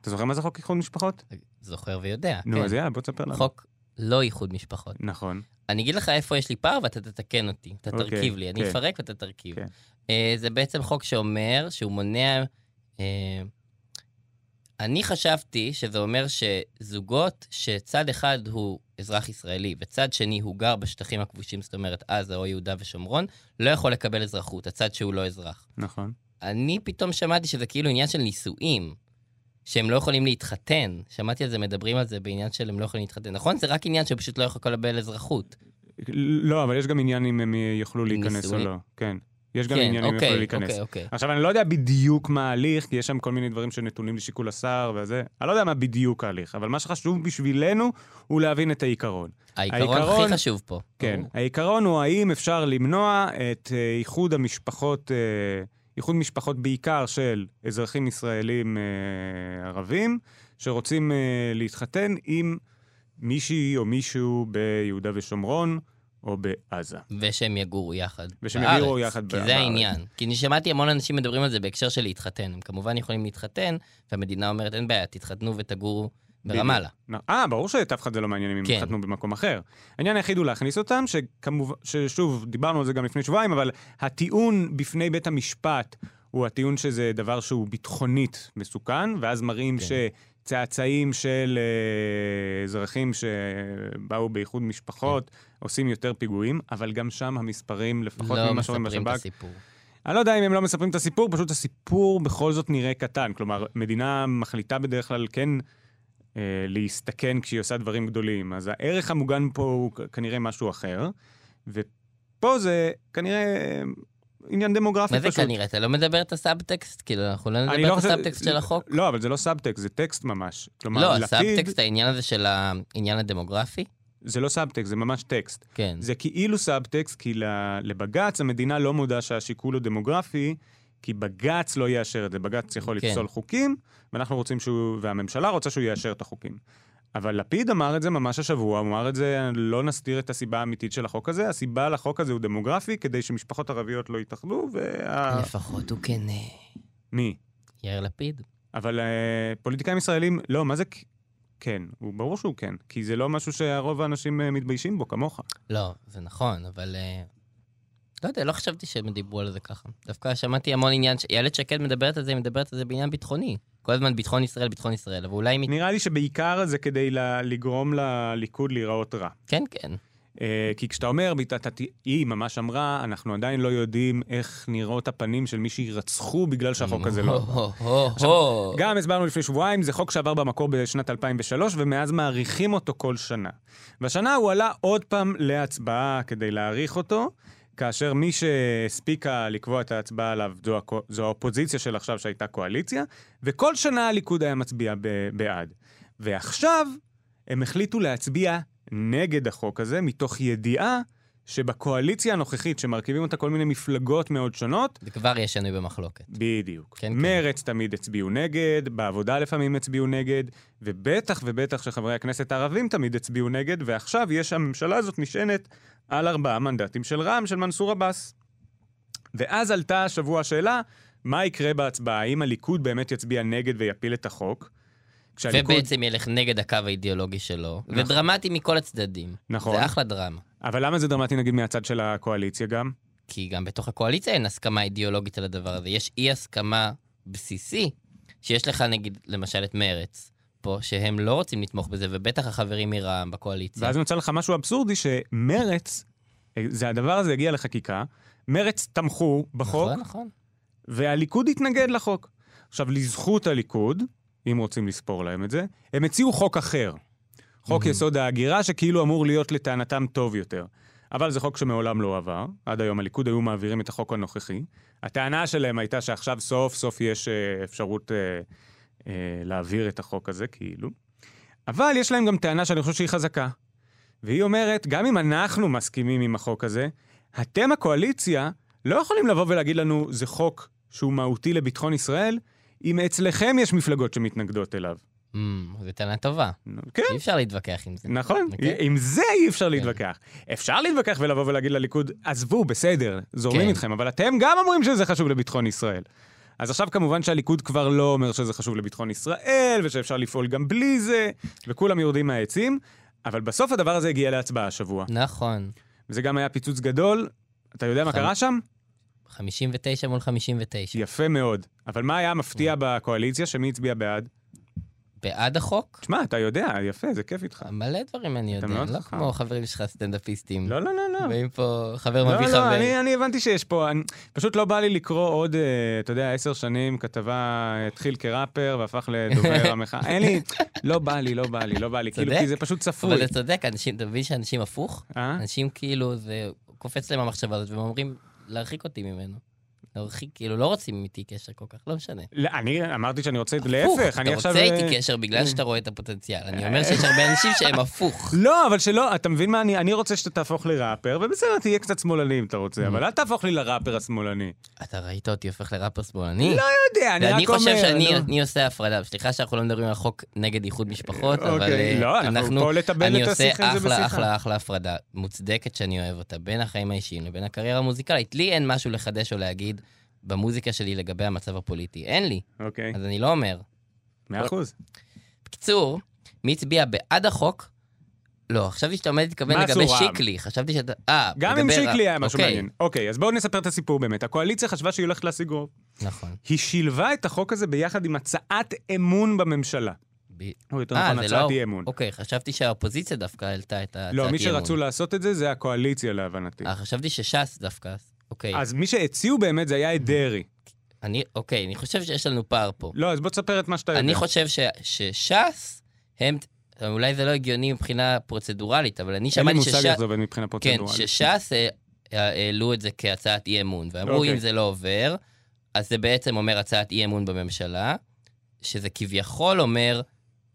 Speaker 2: אתה זוכר מה זה חוק איחוד משפחות?
Speaker 6: זוכר ויודע.
Speaker 2: נו,
Speaker 6: כן.
Speaker 2: אז יאללה, בוא תספר לנו.
Speaker 6: חוק לא איחוד משפחות.
Speaker 2: נכון.
Speaker 6: אני אגיד לך איפה יש לי פער ואתה תתקן אותי, אתה
Speaker 2: אוקיי,
Speaker 6: תרכיב לי, אני
Speaker 2: כן.
Speaker 6: אפרק ואתה תרכיב.
Speaker 2: כן.
Speaker 6: אה, זה בעצם חוק שאומר שהוא מונע... אה, אני חשבתי שזה אומר שזוגות שצד אחד הוא אזרח ישראלי וצד שני הוא גר בשטחים הכבושים, זאת אומרת עזה או יהודה ושומרון, לא יכול לקבל אזרחות, הצד שהוא לא אזרח.
Speaker 2: נכון.
Speaker 6: אני פתאום שמעתי שזה כאילו עניין של נישואים, שהם לא יכולים להתחתן. שמעתי על זה, מדברים על זה בעניין של הם לא יכולים להתחתן. נכון? זה רק עניין שפשוט לא יכול לקבל אזרחות.
Speaker 2: לא, אבל יש גם עניין אם הם יוכלו להיכנס או
Speaker 6: נישואים?
Speaker 2: לא. כן. יש גם
Speaker 6: כן,
Speaker 2: עניין אם
Speaker 6: אוקיי,
Speaker 2: יוכלו להיכנס.
Speaker 6: אוקיי, אוקיי.
Speaker 2: עכשיו, אני לא יודע בדיוק מה ההליך, כי יש שם כל מיני דברים שנתונים לשיקול השר וזה. אני לא יודע מה בדיוק ההליך, אבל מה שחשוב בשבילנו הוא להבין את העיקרון.
Speaker 6: העיקרון
Speaker 2: העיקרון-
Speaker 6: הכי חשוב פה.
Speaker 2: כן.
Speaker 6: ברור.
Speaker 2: העיקרון הוא האם אפשר למנוע את אה, איחוד המשפחות, אה, איחוד משפחות בעיקר של אזרחים ישראלים אה, ערבים, שרוצים אה, להתחתן עם מישהי או מישהו ביהודה ושומרון או בעזה.
Speaker 6: ושהם יגורו יחד.
Speaker 2: ושהם
Speaker 6: בארץ,
Speaker 2: יגורו יחד
Speaker 6: כי
Speaker 2: בארץ.
Speaker 6: זה העניין. כי אני שמעתי המון אנשים מדברים על זה בהקשר של להתחתן. הם כמובן יכולים להתחתן, והמדינה אומרת, אין בעיה, תתחתנו ותגורו ברמאלה.
Speaker 2: נ- אה, ברור שאת אף אחד זה לא מעניין אם הם
Speaker 6: כן.
Speaker 2: התחתנו במקום אחר. העניין היחיד הוא להכניס אותם, שכמובן, ששוב, דיברנו על זה גם לפני שבועיים, אבל הטיעון בפני בית המשפט הוא הטיעון שזה דבר שהוא ביטחונית מסוכן, ואז מראים
Speaker 6: כן.
Speaker 2: שצאצאים של אה, אזרחים שבאו באיחוד משפחות
Speaker 6: כן.
Speaker 2: עושים יותר פיגועים, אבל גם שם המספרים, לפחות
Speaker 6: לא
Speaker 2: ממה שרואים
Speaker 6: מספרים את
Speaker 2: בשב"כ,
Speaker 6: הסיפור.
Speaker 2: אני לא יודע אם הם לא מספרים את הסיפור, פשוט הסיפור בכל זאת נראה קטן. כלומר, מדינה מחליטה בדרך כלל כן אה, להסתכן כשהיא עושה דברים גדולים. אז הערך המוגן פה הוא כ- כנראה משהו אחר, ופה זה כנראה אה, עניין דמוגרפי
Speaker 6: מה זה
Speaker 2: פשוט.
Speaker 6: כנראה? אתה לא מדבר את הסאבטקסט? כאילו, אנחנו לא
Speaker 2: אני
Speaker 6: נדבר את
Speaker 2: חושב-
Speaker 6: הסאבטקסט של החוק?
Speaker 2: לא, אבל זה לא סאבטקסט, זה טקסט ממש. כלומר,
Speaker 6: לא,
Speaker 2: לפיד-
Speaker 6: הסאבטקסט, העניין הזה של העניין הדמוגרפי?
Speaker 2: זה לא סאבטקסט, זה ממש טקסט.
Speaker 6: כן.
Speaker 2: זה כאילו סאבטקסט, כי ל- לבג"ץ המדינה לא מודה שהשיקול הוא דמוגרפי, כי בג"ץ לא יאשר את זה. בג"ץ יכול
Speaker 6: כן.
Speaker 2: לפסול חוקים, ואנחנו רוצים שהוא, והממשלה רוצה שהוא יאשר את החוקים. אבל לפיד אמר את זה ממש השבוע, הוא אמר את זה, לא נסתיר את הסיבה האמיתית של החוק הזה, הסיבה לחוק הזה הוא דמוגרפי, כדי שמשפחות ערביות לא יתאחדו, וה...
Speaker 6: לפחות הוא כן אה,
Speaker 2: מי?
Speaker 6: יאיר לפיד.
Speaker 2: אבל אה, פוליטיקאים ישראלים, לא, מה זה כ- כן? הוא ברור שהוא כן, כי זה לא משהו שהרוב האנשים אה, מתביישים בו, כמוך.
Speaker 6: לא, זה נכון, אבל אה, לא יודע, לא חשבתי שהם דיברו על זה ככה. דווקא שמעתי המון עניין, ש- איילת שקד מדברת על זה, היא מדברת על זה בעניין ביטחוני. כל הזמן ביטחון ישראל, ביטחון ישראל, אבל אולי... מ-
Speaker 2: נראה לי שבעיקר זה כדי ל- לגרום לליכוד להיראות רע.
Speaker 6: כן, כן.
Speaker 2: אה, כי כשאתה אומר, בת- ת- ת- היא ממש אמרה, אנחנו עדיין לא יודעים איך נראות הפנים של מי שירצחו בגלל
Speaker 6: אה,
Speaker 2: שהחוק הזה לא...
Speaker 6: הו, הו, הו.
Speaker 2: גם הסברנו לפני שבועיים, זה חוק שעבר במקור בשנת 2003, ומאז מאריכים אותו כל שנה. והשנה הוא עלה עוד פעם להצבעה כדי להאריך אותו, כאשר מי שהספיקה לקבוע את ההצבעה עליו זו, הקו... זו האופוזיציה של עכשיו שהייתה קואליציה, וכל שנה הליכוד היה מצביע ב... בעד. ועכשיו הם החליטו להצביע נגד החוק הזה, מתוך ידיעה שבקואליציה הנוכחית, שמרכיבים אותה כל מיני מפלגות מאוד שונות,
Speaker 6: זה כבר יש שינוי במחלוקת.
Speaker 2: בדיוק.
Speaker 6: כן,
Speaker 2: כן,
Speaker 6: כן.
Speaker 2: מרץ כן. תמיד הצביעו נגד, בעבודה לפעמים הצביעו נגד, ובטח ובטח שחברי הכנסת הערבים תמיד הצביעו נגד, ועכשיו יש, הממשלה הזאת נשענת על ארבעה מנדטים של רע"מ, של מנסור עבאס. ואז עלתה השבוע השאלה, מה יקרה בהצבעה? האם הליכוד באמת יצביע נגד ויפיל את החוק? כשהליכוד...
Speaker 6: ובעצם ילך נגד הקו האידיאולוגי שלו, ודרמטי מכל הצדדים.
Speaker 2: נכון.
Speaker 6: זה אחלה דרמה.
Speaker 2: אבל למה זה דרמטי נגיד מהצד של הקואליציה גם?
Speaker 6: כי גם בתוך הקואליציה אין הסכמה אידיאולוגית על הדבר הזה. יש אי הסכמה בסיסי, שיש לך נגיד, למשל את מרץ, פה, שהם לא רוצים לתמוך בזה, ובטח החברים מרע"מ בקואליציה.
Speaker 2: ואז נוצר לך משהו אבסורדי, שמרץ, אה, זה הדבר הזה הגיע לחקיקה, מרץ תמכו בחוק,
Speaker 6: נכון, נכון.
Speaker 2: והליכוד התנגד לחוק. עכשיו, לזכות הליכוד, אם רוצים לספור להם את זה, הם הציעו חוק אחר. חוק יסוד ההגירה, שכאילו אמור להיות לטענתם טוב יותר. אבל זה חוק שמעולם לא עבר, עד היום הליכוד היו מעבירים את החוק הנוכחי. הטענה שלהם הייתה שעכשיו סוף סוף יש אה, אפשרות אה, אה, להעביר את החוק הזה, כאילו. אבל יש להם גם טענה שאני חושב שהיא חזקה. והיא אומרת, גם אם אנחנו מסכימים עם החוק הזה, אתם הקואליציה לא יכולים לבוא ולהגיד לנו, זה חוק שהוא מהותי לביטחון ישראל, אם אצלכם יש מפלגות שמתנגדות אליו.
Speaker 6: Mm, זו טענה טובה.
Speaker 2: נו, כן,
Speaker 6: אי אפשר להתווכח עם זה.
Speaker 2: נכון,
Speaker 6: אוקיי.
Speaker 2: עם זה אי אפשר להתווכח. אפשר להתווכח ולבוא ולהגיד לליכוד, עזבו, בסדר,
Speaker 6: כן.
Speaker 2: זורמים איתכם, אבל אתם גם אומרים שזה חשוב לביטחון ישראל. אז עכשיו כמובן שהליכוד כבר לא אומר שזה חשוב לביטחון ישראל, ושאפשר לפעול גם בלי זה, וכולם יורדים מהעצים, אבל בסוף הדבר הזה הגיע להצבעה השבוע.
Speaker 6: נכון.
Speaker 2: וזה גם היה פיצוץ גדול. אתה יודע מה
Speaker 6: חם.
Speaker 2: קרה שם?
Speaker 6: 59 מול 59.
Speaker 2: יפה מאוד. אבל מה היה
Speaker 6: Mm.
Speaker 2: מפתיע בקואליציה? שמי הצביע בעד?
Speaker 6: בעד החוק?
Speaker 2: תשמע, אתה יודע, יפה, זה כיף איתך.
Speaker 6: מלא דברים אני יודע,
Speaker 2: אתה מאוד
Speaker 6: לא
Speaker 2: חכם.
Speaker 6: כמו חברים שלך סטנדאפיסטים.
Speaker 2: לא, לא, לא, לא.
Speaker 6: באים פה, חבר
Speaker 2: לא,
Speaker 6: מביא חבר.
Speaker 2: לא, אני, אני הבנתי שיש פה, אני, פשוט לא בא לי לקרוא עוד, אה, אתה יודע, עשר שנים כתבה, התחיל כראפר והפך לדובר המחאה. אין לי, לא בא לי, לא בא לי, לא בא לי, כאילו,
Speaker 6: צודק.
Speaker 2: כי זה פשוט צפוי.
Speaker 6: אבל אתה צודק, אנשים, אתה מבין שאנשים הפוך?
Speaker 2: אה?
Speaker 6: אנשים כאילו, זה קופץ להם המחשבה הזאת, והם אומרים, להרחיק אותי ממנו. להרחיק, כאילו, לא רוצים איתי קשר כל כך, לא משנה.
Speaker 2: לא, אני אמרתי שאני רוצה,
Speaker 6: הפוך,
Speaker 2: להפך, אני עכשיו...
Speaker 6: אתה רוצה
Speaker 2: אה,
Speaker 6: איתי קשר בגלל שאתה רואה את הפוטנציאל. אני אומר שיש הרבה אנשים שהם הפוך.
Speaker 2: לא, אבל שלא, אתה מבין מה אני, אני רוצה שאתה תהפוך לראפר, ובסדר, תהיה קצת שמאלני אם אתה
Speaker 6: Mm.
Speaker 2: רוצה, אבל אל תהפוך לי לראפר השמאלני.
Speaker 6: אתה ראית אותי הופך לראפר שמאלני?
Speaker 2: לא יודע, אני
Speaker 6: ואני
Speaker 2: רק אומר...
Speaker 6: חושב שאני
Speaker 2: לא.
Speaker 6: אני עושה הפרדה, סליחה שאנחנו לא מדברים על חוק נגד איחוד משפחות,
Speaker 2: אוקיי.
Speaker 6: אבל אה,
Speaker 2: לא, אנחנו פה לטבל
Speaker 6: אני
Speaker 2: את
Speaker 6: עושה
Speaker 2: השיחה, זה
Speaker 6: אחלה,
Speaker 2: בשיחה.
Speaker 6: אחלה, אחלה הפרדה מוצדקת שאני אוהב אותה, בין החיים האישיים לבין הקריירה המוזיקלית. לי אין משהו לחדש או להגיד במוזיקה שלי לגבי המצב הפוליטי, אין לי,
Speaker 2: אוקיי,
Speaker 6: אז אני לא אומר.
Speaker 2: מאה אחוז.
Speaker 6: אה, בקיצור, מי הצביע בעד החוק? לא, חשבתי שאתה עומד להתכוון
Speaker 2: מה
Speaker 6: לגבי
Speaker 2: עשו רע"מ?
Speaker 6: שיקלי, חשבתי שאתה... אה,
Speaker 2: גם עם
Speaker 6: מדבר
Speaker 2: שיקלי
Speaker 6: רע.
Speaker 2: היה משהו
Speaker 6: אוקיי,
Speaker 2: מעניין. אוקיי, אז בואו נספר את הסיפור באמת. הקואליציה חשבה שהיא הולכת להשיג רוב.
Speaker 6: נכון.
Speaker 2: היא שילבה את החוק הזה ביחד עם הצעת אמון בממשלה.
Speaker 6: ב-
Speaker 2: או יותר
Speaker 6: אה,
Speaker 2: נכון,
Speaker 6: זה לא...
Speaker 2: הצעת אי אמון.
Speaker 6: אוקיי, חשבתי שהאופוזיציה דווקא העלתה את הצעת אי אמון.
Speaker 2: לא, מי שרצו לעשות את זה זה הקואליציה להבנתי.
Speaker 6: אה, חשבתי שש"ס דווקא. אוקיי,
Speaker 2: אז מי שהציעו באמת זה היה את דרעי.
Speaker 6: אני, אוקיי, אני חושב שיש לנו פער פה.
Speaker 2: לא, אז בוא תספר את מה שאתה
Speaker 6: אני
Speaker 2: יודע.
Speaker 6: חושב ש, שש"ס, הם, אולי זה לא הגיוני מבחינה פרוצדורלית, אבל אני
Speaker 2: אין לי
Speaker 6: שמעתי
Speaker 2: מושג
Speaker 6: שש"ס,
Speaker 2: איך זה עובד מבחינה
Speaker 6: כן,
Speaker 2: פרוצדורלית.
Speaker 6: שש"ס אה, אה, העלו את זה כהצעת אי אמון, ואמרו
Speaker 2: אוקיי.
Speaker 6: אם זה לא עובר, אז זה בעצם אומר הצעת אי אמון בממשלה, שזה כביכול אומר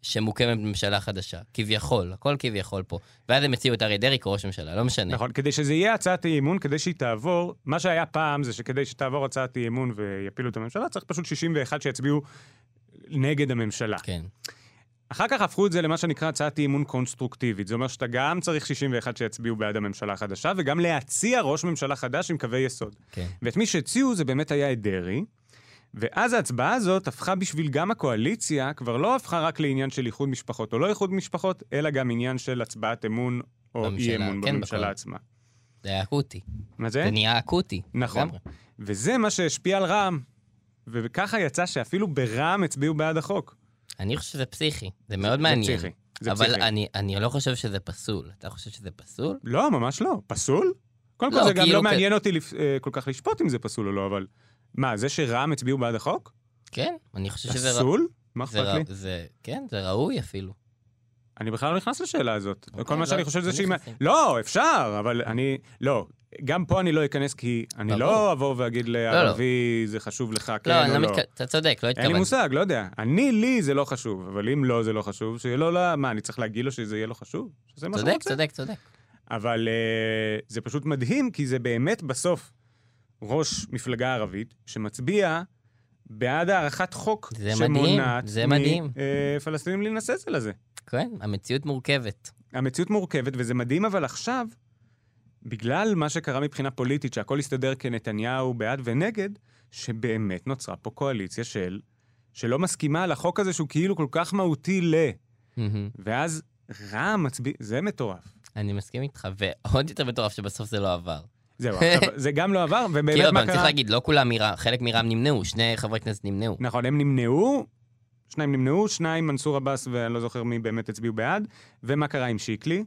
Speaker 6: שמוקמת ממשלה חדשה. כביכול, הכל כביכול פה. ואז הם הציעו את אריה דרעי כראש ממשלה, לא משנה.
Speaker 2: נכון, כדי שזה יהיה הצעת אי אמון, כדי שהיא תעבור, מה שהיה פעם זה שכדי שתעבור הצעת אי אמון ויפילו את הממשלה, צריך פשוט 61 שיצביעו נגד הממשלה.
Speaker 6: כן.
Speaker 2: אחר כך הפכו את זה למה שנקרא הצעת אי אמון קונסטרוקטיבית. זה אומר שאתה גם צריך 61 שיצביעו בעד הממשלה החדשה, וגם להציע ראש ממשלה חדש עם קווי יסוד.
Speaker 6: כן.
Speaker 2: ואת מי שהציעו זה באמת היה את דרעי, ואז ההצבעה הזאת הפכה בשביל גם הקואליציה, כבר לא הפכה רק לעניין של איחוד משפחות או לא איחוד משפחות, אלא גם עניין של הצבעת אמון או
Speaker 6: בממשלה,
Speaker 2: אי אמון
Speaker 6: כן,
Speaker 2: בממשלה
Speaker 6: בכל-
Speaker 2: עצמה.
Speaker 6: זה היה אקוטי.
Speaker 2: מה זה?
Speaker 6: זה נהיה אקוטי.
Speaker 2: כן. נכון.
Speaker 6: לגמרי.
Speaker 2: וזה מה שהשפיע על רע"מ. וככה יצא שאפילו ברע"מ הצביעו בעד החוק.
Speaker 6: אני חושב שזה פסיכי, זה מאוד מעניין.
Speaker 2: פסיכי, זה
Speaker 6: אבל
Speaker 2: פסיכי.
Speaker 6: אני- אני לא חושב שזה פסול. אתה חושב שזה פסול?
Speaker 2: לא, ממש לא. פסול? קודם כל,
Speaker 6: לא,
Speaker 2: זה גם
Speaker 6: כאילו,
Speaker 2: לא
Speaker 6: כ-
Speaker 2: מעניין אותי לפ- אה, כל כך לשפוט אם זה פסול או לא, אבל... מה, זה שרע"מ הצביעו בעד החוק?
Speaker 6: כן, אני חושב שזה... רא-
Speaker 2: פסול? מה
Speaker 6: זה
Speaker 2: אכפת
Speaker 6: רא-
Speaker 2: לי?
Speaker 6: זה- כן, זה ראוי אפילו.
Speaker 2: אני בכלל לא נכנס לשאלה הזאת. כל
Speaker 6: לא,
Speaker 2: מה שאני חושב זה
Speaker 6: לא
Speaker 2: שאם...
Speaker 6: נכנסים.
Speaker 2: לא, אפשר, אבל אני... לא. גם פה אני לא אכנס כי אני
Speaker 6: ברור.
Speaker 2: לא אבוא ואגיד לערבי, זה חשוב לך, כן
Speaker 6: לא, אני
Speaker 2: או
Speaker 6: לא
Speaker 2: לא.
Speaker 6: מתכוון, אתה צודק, לא
Speaker 2: אין לי
Speaker 6: התכוונתי.
Speaker 2: מושג, לא יודע. אני, לי זה לא חשוב, אבל אם לא זה לא חשוב, שיהיה לו לא... מה, אני צריך להגיד לו שזה יהיה לו חשוב? שזה מה שהוא
Speaker 6: צודק,
Speaker 2: רוצה?
Speaker 6: צודק, צודק.
Speaker 2: אבל אה, זה פשוט מדהים, כי זה באמת בסוף ראש מפלגה ערבית שמצביע בעד הארכת חוק
Speaker 6: זה
Speaker 2: שמונעת
Speaker 6: מדהים, זה מדהים.
Speaker 2: מפלסטינים להינשא על זה.
Speaker 6: כן, המציאות מורכבת.
Speaker 2: המציאות מורכבת, וזה מדהים, אבל עכשיו, בגלל מה שקרה מבחינה פוליטית, שהכל הסתדר כנתניהו בעד ונגד, שבאמת נוצרה פה קואליציה של... שלא מסכימה על החוק הזה שהוא כאילו כל כך מהותי ל...
Speaker 6: מהמם.
Speaker 2: ואז רע"מ מצביע... זה מטורף.
Speaker 6: אני מסכים איתך, ועוד יותר מטורף שבסוף זה לא עבר.
Speaker 2: זהו, עכשיו, זה גם לא עבר,
Speaker 6: כי
Speaker 2: ובאמת
Speaker 6: עוד
Speaker 2: מה
Speaker 6: פעם, צריך
Speaker 2: קרה...
Speaker 6: להגיד, לא כולם מרע"מ, חלק מרע"מ נמנעו, שני חברי כנסת נמנעו.
Speaker 2: נכון, הם נמנעו, שניים נמנעו, שניים מנסור עבאס ואני לא זוכר מי באמת הצביעו בעד, ומה קרה עם שיקלי?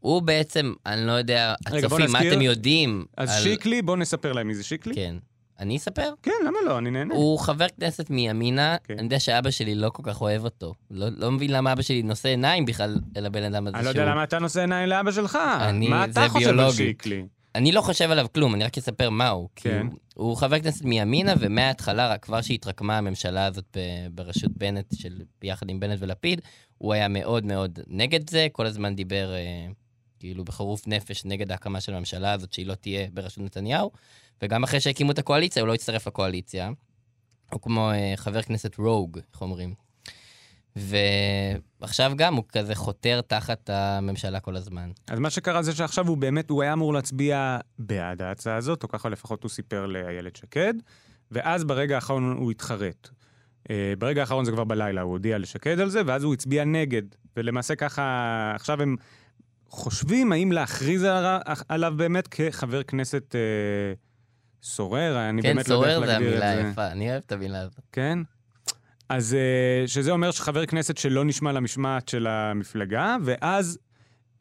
Speaker 6: הוא בעצם, אני לא יודע,
Speaker 2: רגע, בוא
Speaker 6: הצופים, מה
Speaker 2: נזכיר.
Speaker 6: אתם יודעים?
Speaker 2: אז
Speaker 6: על-
Speaker 2: שיקלי, בוא נספר להם מי זה שיקלי.
Speaker 6: כן. אני אספר?
Speaker 2: כן, למה לא? אני נהנה.
Speaker 6: הוא חבר כנסת מימינה,
Speaker 2: כן.
Speaker 6: אני יודע שאבא שלי לא כל כך אוהב אותו. לא לא מבין למה אבא שלי נושא עיניים בכלל אל הבן אדם הזה
Speaker 2: אני לא
Speaker 6: שהוא...
Speaker 2: יודע למה אתה נושא עיניים לאבא שלך.
Speaker 6: אני-
Speaker 2: מה
Speaker 6: זה
Speaker 2: אתה חושב על
Speaker 6: ביולוגי.
Speaker 2: שיקלי?
Speaker 6: אני לא חושב עליו כלום, אני רק אספר מה הוא. כי
Speaker 2: כן.
Speaker 6: הוא- הוא חבר כנסת מימינה, ומההתחלה, רק כבר שהתרקמה הממשלה הזאת ב- בראשות בנט, של ביחד עם בנט ולפיד, הוא היה מאוד מאוד נגד זה, כל הזמן דיבר אה, כאילו בחירוף נפש נגד ההקמה של הממשלה הזאת, שהיא לא תהיה בראשות נתניהו, וגם אחרי שהקימו את הקואליציה, הוא לא הצטרף לקואליציה. הוא כמו אה, חבר כנסת רוג, איך אומרים. ועכשיו גם הוא כזה חותר תחת הממשלה כל הזמן.
Speaker 2: אז מה שקרה זה שעכשיו הוא באמת, הוא היה אמור להצביע בעד ההצעה הזאת, או ככה לפחות הוא סיפר לאיילת שקד, ואז ברגע האחרון הוא התחרט. אה, ברגע האחרון זה כבר בלילה, הוא הודיע לשקד על זה, ואז הוא הצביע נגד. ולמעשה ככה, עכשיו הם חושבים האם להכריז על- עליו באמת כחבר כנסת אה, סורר, אני
Speaker 6: כן,
Speaker 2: באמת לא יודע
Speaker 6: סורר
Speaker 2: איך
Speaker 6: זה
Speaker 2: להגדיר את
Speaker 6: המילה
Speaker 2: זה.
Speaker 6: היפה, אני אוהב את המילה הזאת.
Speaker 2: כן? אז אה, שזה אומר שחבר כנסת שלא נשמע למשמעת של המפלגה, ואז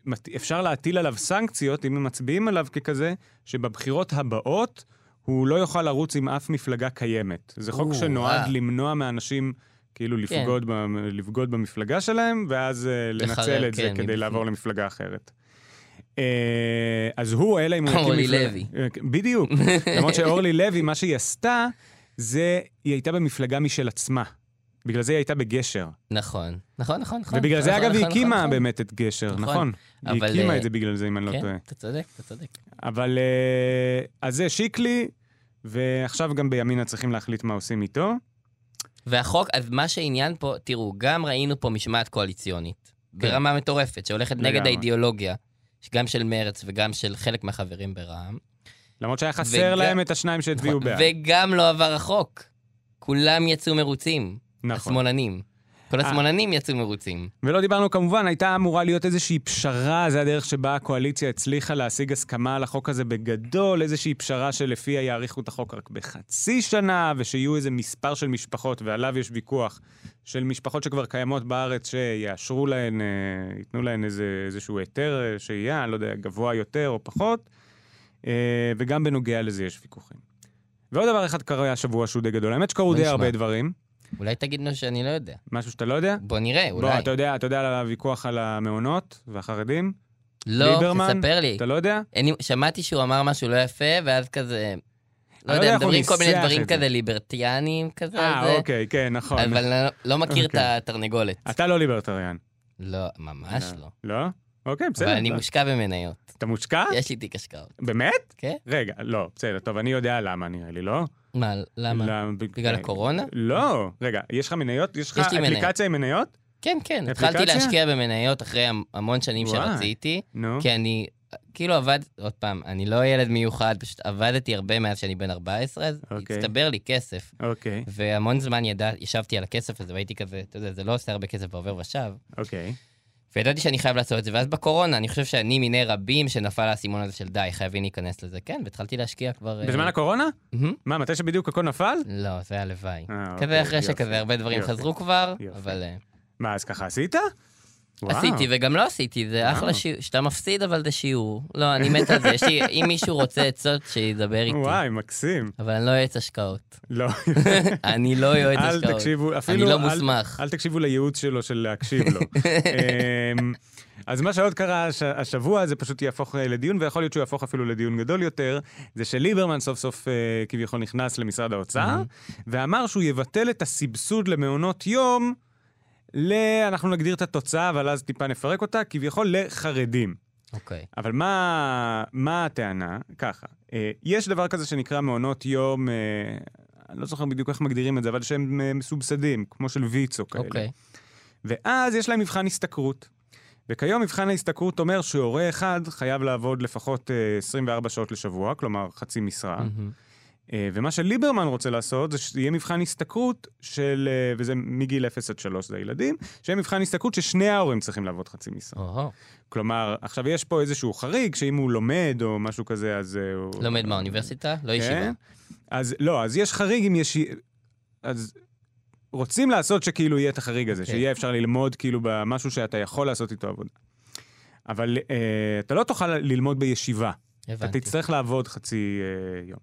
Speaker 2: מת- אפשר להטיל עליו סנקציות, אם הם מצביעים עליו ככזה, שבבחירות הבאות הוא לא יוכל לרוץ עם אף מפלגה קיימת. זה חוק
Speaker 6: או,
Speaker 2: שנועד
Speaker 6: אה.
Speaker 2: למנוע מאנשים כאילו
Speaker 6: כן.
Speaker 2: לפגוד, ב, לפגוד במפלגה שלהם, ואז אה, לנצל
Speaker 6: לחרב,
Speaker 2: את זה
Speaker 6: כן,
Speaker 2: כדי
Speaker 6: מבפנים.
Speaker 2: לעבור למפלגה אחרת. אה, אז הוא, אלא אם הוא... יקים
Speaker 6: אורלי
Speaker 2: מפלגה-
Speaker 6: לוי.
Speaker 2: אה, בדיוק. למרות שאורלי לוי, מה שהיא עשתה, זה, היא הייתה במפלגה משל עצמה. בגלל זה היא הייתה בגשר.
Speaker 6: נכון, נכון, נכון, נכון.
Speaker 2: ובגלל זה,
Speaker 6: נכון,
Speaker 2: אגב, היא
Speaker 6: נכון,
Speaker 2: הקימה
Speaker 6: נכון,
Speaker 2: באמת את גשר,
Speaker 6: נכון.
Speaker 2: נכון. היא
Speaker 6: אבל,
Speaker 2: הקימה
Speaker 6: אה,
Speaker 2: את זה בגלל זה, אם אני לא
Speaker 6: נכון.
Speaker 2: טועה.
Speaker 6: כן, אתה צודק, אתה צודק.
Speaker 2: אבל אה, אז זה שיקלי, ועכשיו גם בימינה צריכים להחליט מה עושים איתו.
Speaker 6: והחוק, אז מה שהעניין פה, תראו, גם ראינו פה משמעת קואליציונית, ברמה מטורפת, שהולכת נגד
Speaker 2: כן. לגמרי.
Speaker 6: האידיאולוגיה, גם של מרץ וגם של חלק מהחברים ברע"מ.
Speaker 2: למרות שהיה חסר
Speaker 6: וג-
Speaker 2: להם את השניים שהצביעו בעד.
Speaker 6: וגם לא עבר החוק. כולם יצאו מרוצים,
Speaker 2: נכון.
Speaker 6: השמאלנים. כל
Speaker 2: אה.
Speaker 6: השמאלנים יצאו מרוצים.
Speaker 2: ולא דיברנו כמובן, הייתה אמורה להיות איזושהי פשרה, זה הדרך שבה הקואליציה הצליחה להשיג הסכמה על החוק הזה בגדול, איזושהי פשרה שלפיה יאריכו את החוק רק בחצי שנה, ושיהיו איזה מספר של משפחות, ועליו יש ויכוח, של משפחות שכבר קיימות בארץ, שיאשרו להן, אה, ייתנו להן איזה, איזשהו היתר אה, שהייה, אני לא יודע, גבוה יותר או פחות, אה, וגם בנוגע לזה יש ויכוחים. ועוד דבר אחד קרה השבוע שהוא די גדול, האמת שקרו
Speaker 6: בוא
Speaker 2: די
Speaker 6: נשמע.
Speaker 2: הרבה דברים,
Speaker 6: אולי תגיד לו שאני לא יודע.
Speaker 2: משהו שאתה לא יודע.
Speaker 6: בוא נראה, אולי.
Speaker 2: בוא, אתה יודע, אתה יודע על הוויכוח על המעונות והחרדים?
Speaker 6: לא,
Speaker 2: ליברמן,
Speaker 6: תספר לי.
Speaker 2: אתה לא יודע?
Speaker 6: אין לי- שמעתי שהוא אמר משהו לא יפה, ואז כזה...
Speaker 2: לא
Speaker 6: לא
Speaker 2: יודע
Speaker 6: יודע,
Speaker 2: איך
Speaker 6: הם
Speaker 2: הוא
Speaker 6: מדברים כל מיני
Speaker 2: ניסח
Speaker 6: דברים
Speaker 2: את זה.
Speaker 6: כזה ליברטיאנים כזה. על
Speaker 2: אה,
Speaker 6: זה,
Speaker 2: אוקיי, כן, נכון.
Speaker 6: לא אבל אני לא- לא מכיר את
Speaker 2: אוקיי.
Speaker 6: התרנגולת.
Speaker 2: אתה לא ליברטריאן,
Speaker 6: לא, ממש לא.
Speaker 2: לא? אוקיי,
Speaker 6: אבל
Speaker 2: בסדר.
Speaker 6: אני
Speaker 2: אתה- אה.
Speaker 6: מושקע במניות.
Speaker 2: אתה מושקע?
Speaker 6: יש לי תיק השקעות,
Speaker 2: באמת?
Speaker 6: כן?
Speaker 2: רגע, לא, בסדר, טוב, אני יודע למה נראה לי, לא?
Speaker 6: מה, למה?
Speaker 2: למ-
Speaker 6: בגלל הקורונה?
Speaker 2: לא. רגע, יש לך מניות? יש לך
Speaker 6: יש לי מניות.
Speaker 2: אפליקציה עם מניות?
Speaker 6: כן, כן.
Speaker 2: אפליקציה?
Speaker 6: התחלתי להשקיע במניות אחרי המ- המון שנים
Speaker 2: וואי. אה.
Speaker 6: שרציתי,
Speaker 2: נו.
Speaker 6: כי אני... כאילו עבד, עוד פעם, אני לא ילד מיוחד, פשוט עבדתי הרבה מאז שאני בן 14, אז
Speaker 2: אוקיי.
Speaker 6: הצטבר לי כסף.
Speaker 2: אוקיי,
Speaker 6: והמון זמן ידע, ישבתי על הכסף הזה, והייתי כזה, אתה יודע, זה לא עושה הרבה כסף בעובר ושב,
Speaker 2: אוקיי.
Speaker 6: וידעתי שאני חייב לעשות את זה, ואז בקורונה, אני חושב שאני מיני רבים שנפל האסימון הזה של די, חייבים להיכנס לזה. כן, והתחלתי להשקיע כבר... אה,
Speaker 2: בזמן הקורונה?
Speaker 6: מהמם.
Speaker 2: מה, מתי שבדיוק הכל נפל?
Speaker 6: לא, זה הלוואי.
Speaker 2: אה, אוקיי,
Speaker 6: כזה אחרי
Speaker 2: יופי,
Speaker 6: שכזה, הרבה דברים
Speaker 2: יופי.
Speaker 6: חזרו כבר,
Speaker 2: יופי.
Speaker 6: אבל... אה,
Speaker 2: מה, אז ככה עשית? וואו.
Speaker 6: עשיתי וגם לא עשיתי, זה אחלה שיעור, שאתה מפסיד אבל זה שיעור. לא, אני מת על זה, יש לי, אם מישהו רוצה עצות, שידבר איתי.
Speaker 2: וואי, מקסים.
Speaker 6: אבל אני לא יועץ השקעות.
Speaker 2: לא,
Speaker 6: אני לא יועץ
Speaker 2: אל
Speaker 6: השקעות.
Speaker 2: תקשיבו,
Speaker 6: אני
Speaker 2: אפילו...
Speaker 6: לא
Speaker 2: אל-
Speaker 6: מוסמך.
Speaker 2: אל תקשיבו לייעוץ שלו של להקשיב לו. אמ, אז מה שעוד קרה הש- השבוע, זה פשוט יהפוך אה, לדיון, ויכול להיות שהוא יהפוך אפילו לדיון גדול יותר, זה שליברמן סוף סוף אה, כביכול נכנס למשרד האוצר, ואמר שהוא יבטל את הסבסוד למעונות יום, ל... אנחנו נגדיר את התוצאה, אבל אז טיפה נפרק אותה, כביכול לחרדים.
Speaker 6: אוקיי.
Speaker 2: אבל מה, מה הטענה? ככה, אה, יש דבר כזה שנקרא מעונות יום, אה, אני לא זוכר בדיוק איך מגדירים את זה, אבל שהם אה, מסובסדים, כמו של ויצו כאלה.
Speaker 6: אוקיי.
Speaker 2: ואז יש להם מבחן השתכרות. וכיום מבחן ההשתכרות אומר שהורה אחד חייב לעבוד לפחות אה, 24 שעות לשבוע, כלומר חצי משרה.
Speaker 6: מהמם.
Speaker 2: אה, ומה שליברמן רוצה לעשות זה שיהיה מבחן השתכרות של, אה, וזה מגיל 0 עד 3 זה הילדים, שיהיה מבחן השתכרות ששני ההורים צריכים לעבוד חצי משרה.
Speaker 6: אוהו.
Speaker 2: כלומר, עכשיו יש פה איזשהו חריג, שאם הוא לומד או משהו כזה, אז אה, הוא...
Speaker 6: לומד מהאוניברסיטה? לא ישיבה.
Speaker 2: כן? אז לא, אז יש חריג אם יש... אז רוצים לעשות שכאילו יהיה את החריג הזה,
Speaker 6: אוקיי.
Speaker 2: שיהיה אפשר ללמוד כאילו במשהו שאתה יכול לעשות איתו עבודה. אבל אה, אתה לא תוכל ללמוד בישיבה, אתה
Speaker 6: הבנתי.
Speaker 2: תצטרך לעבוד חצי אה, יום.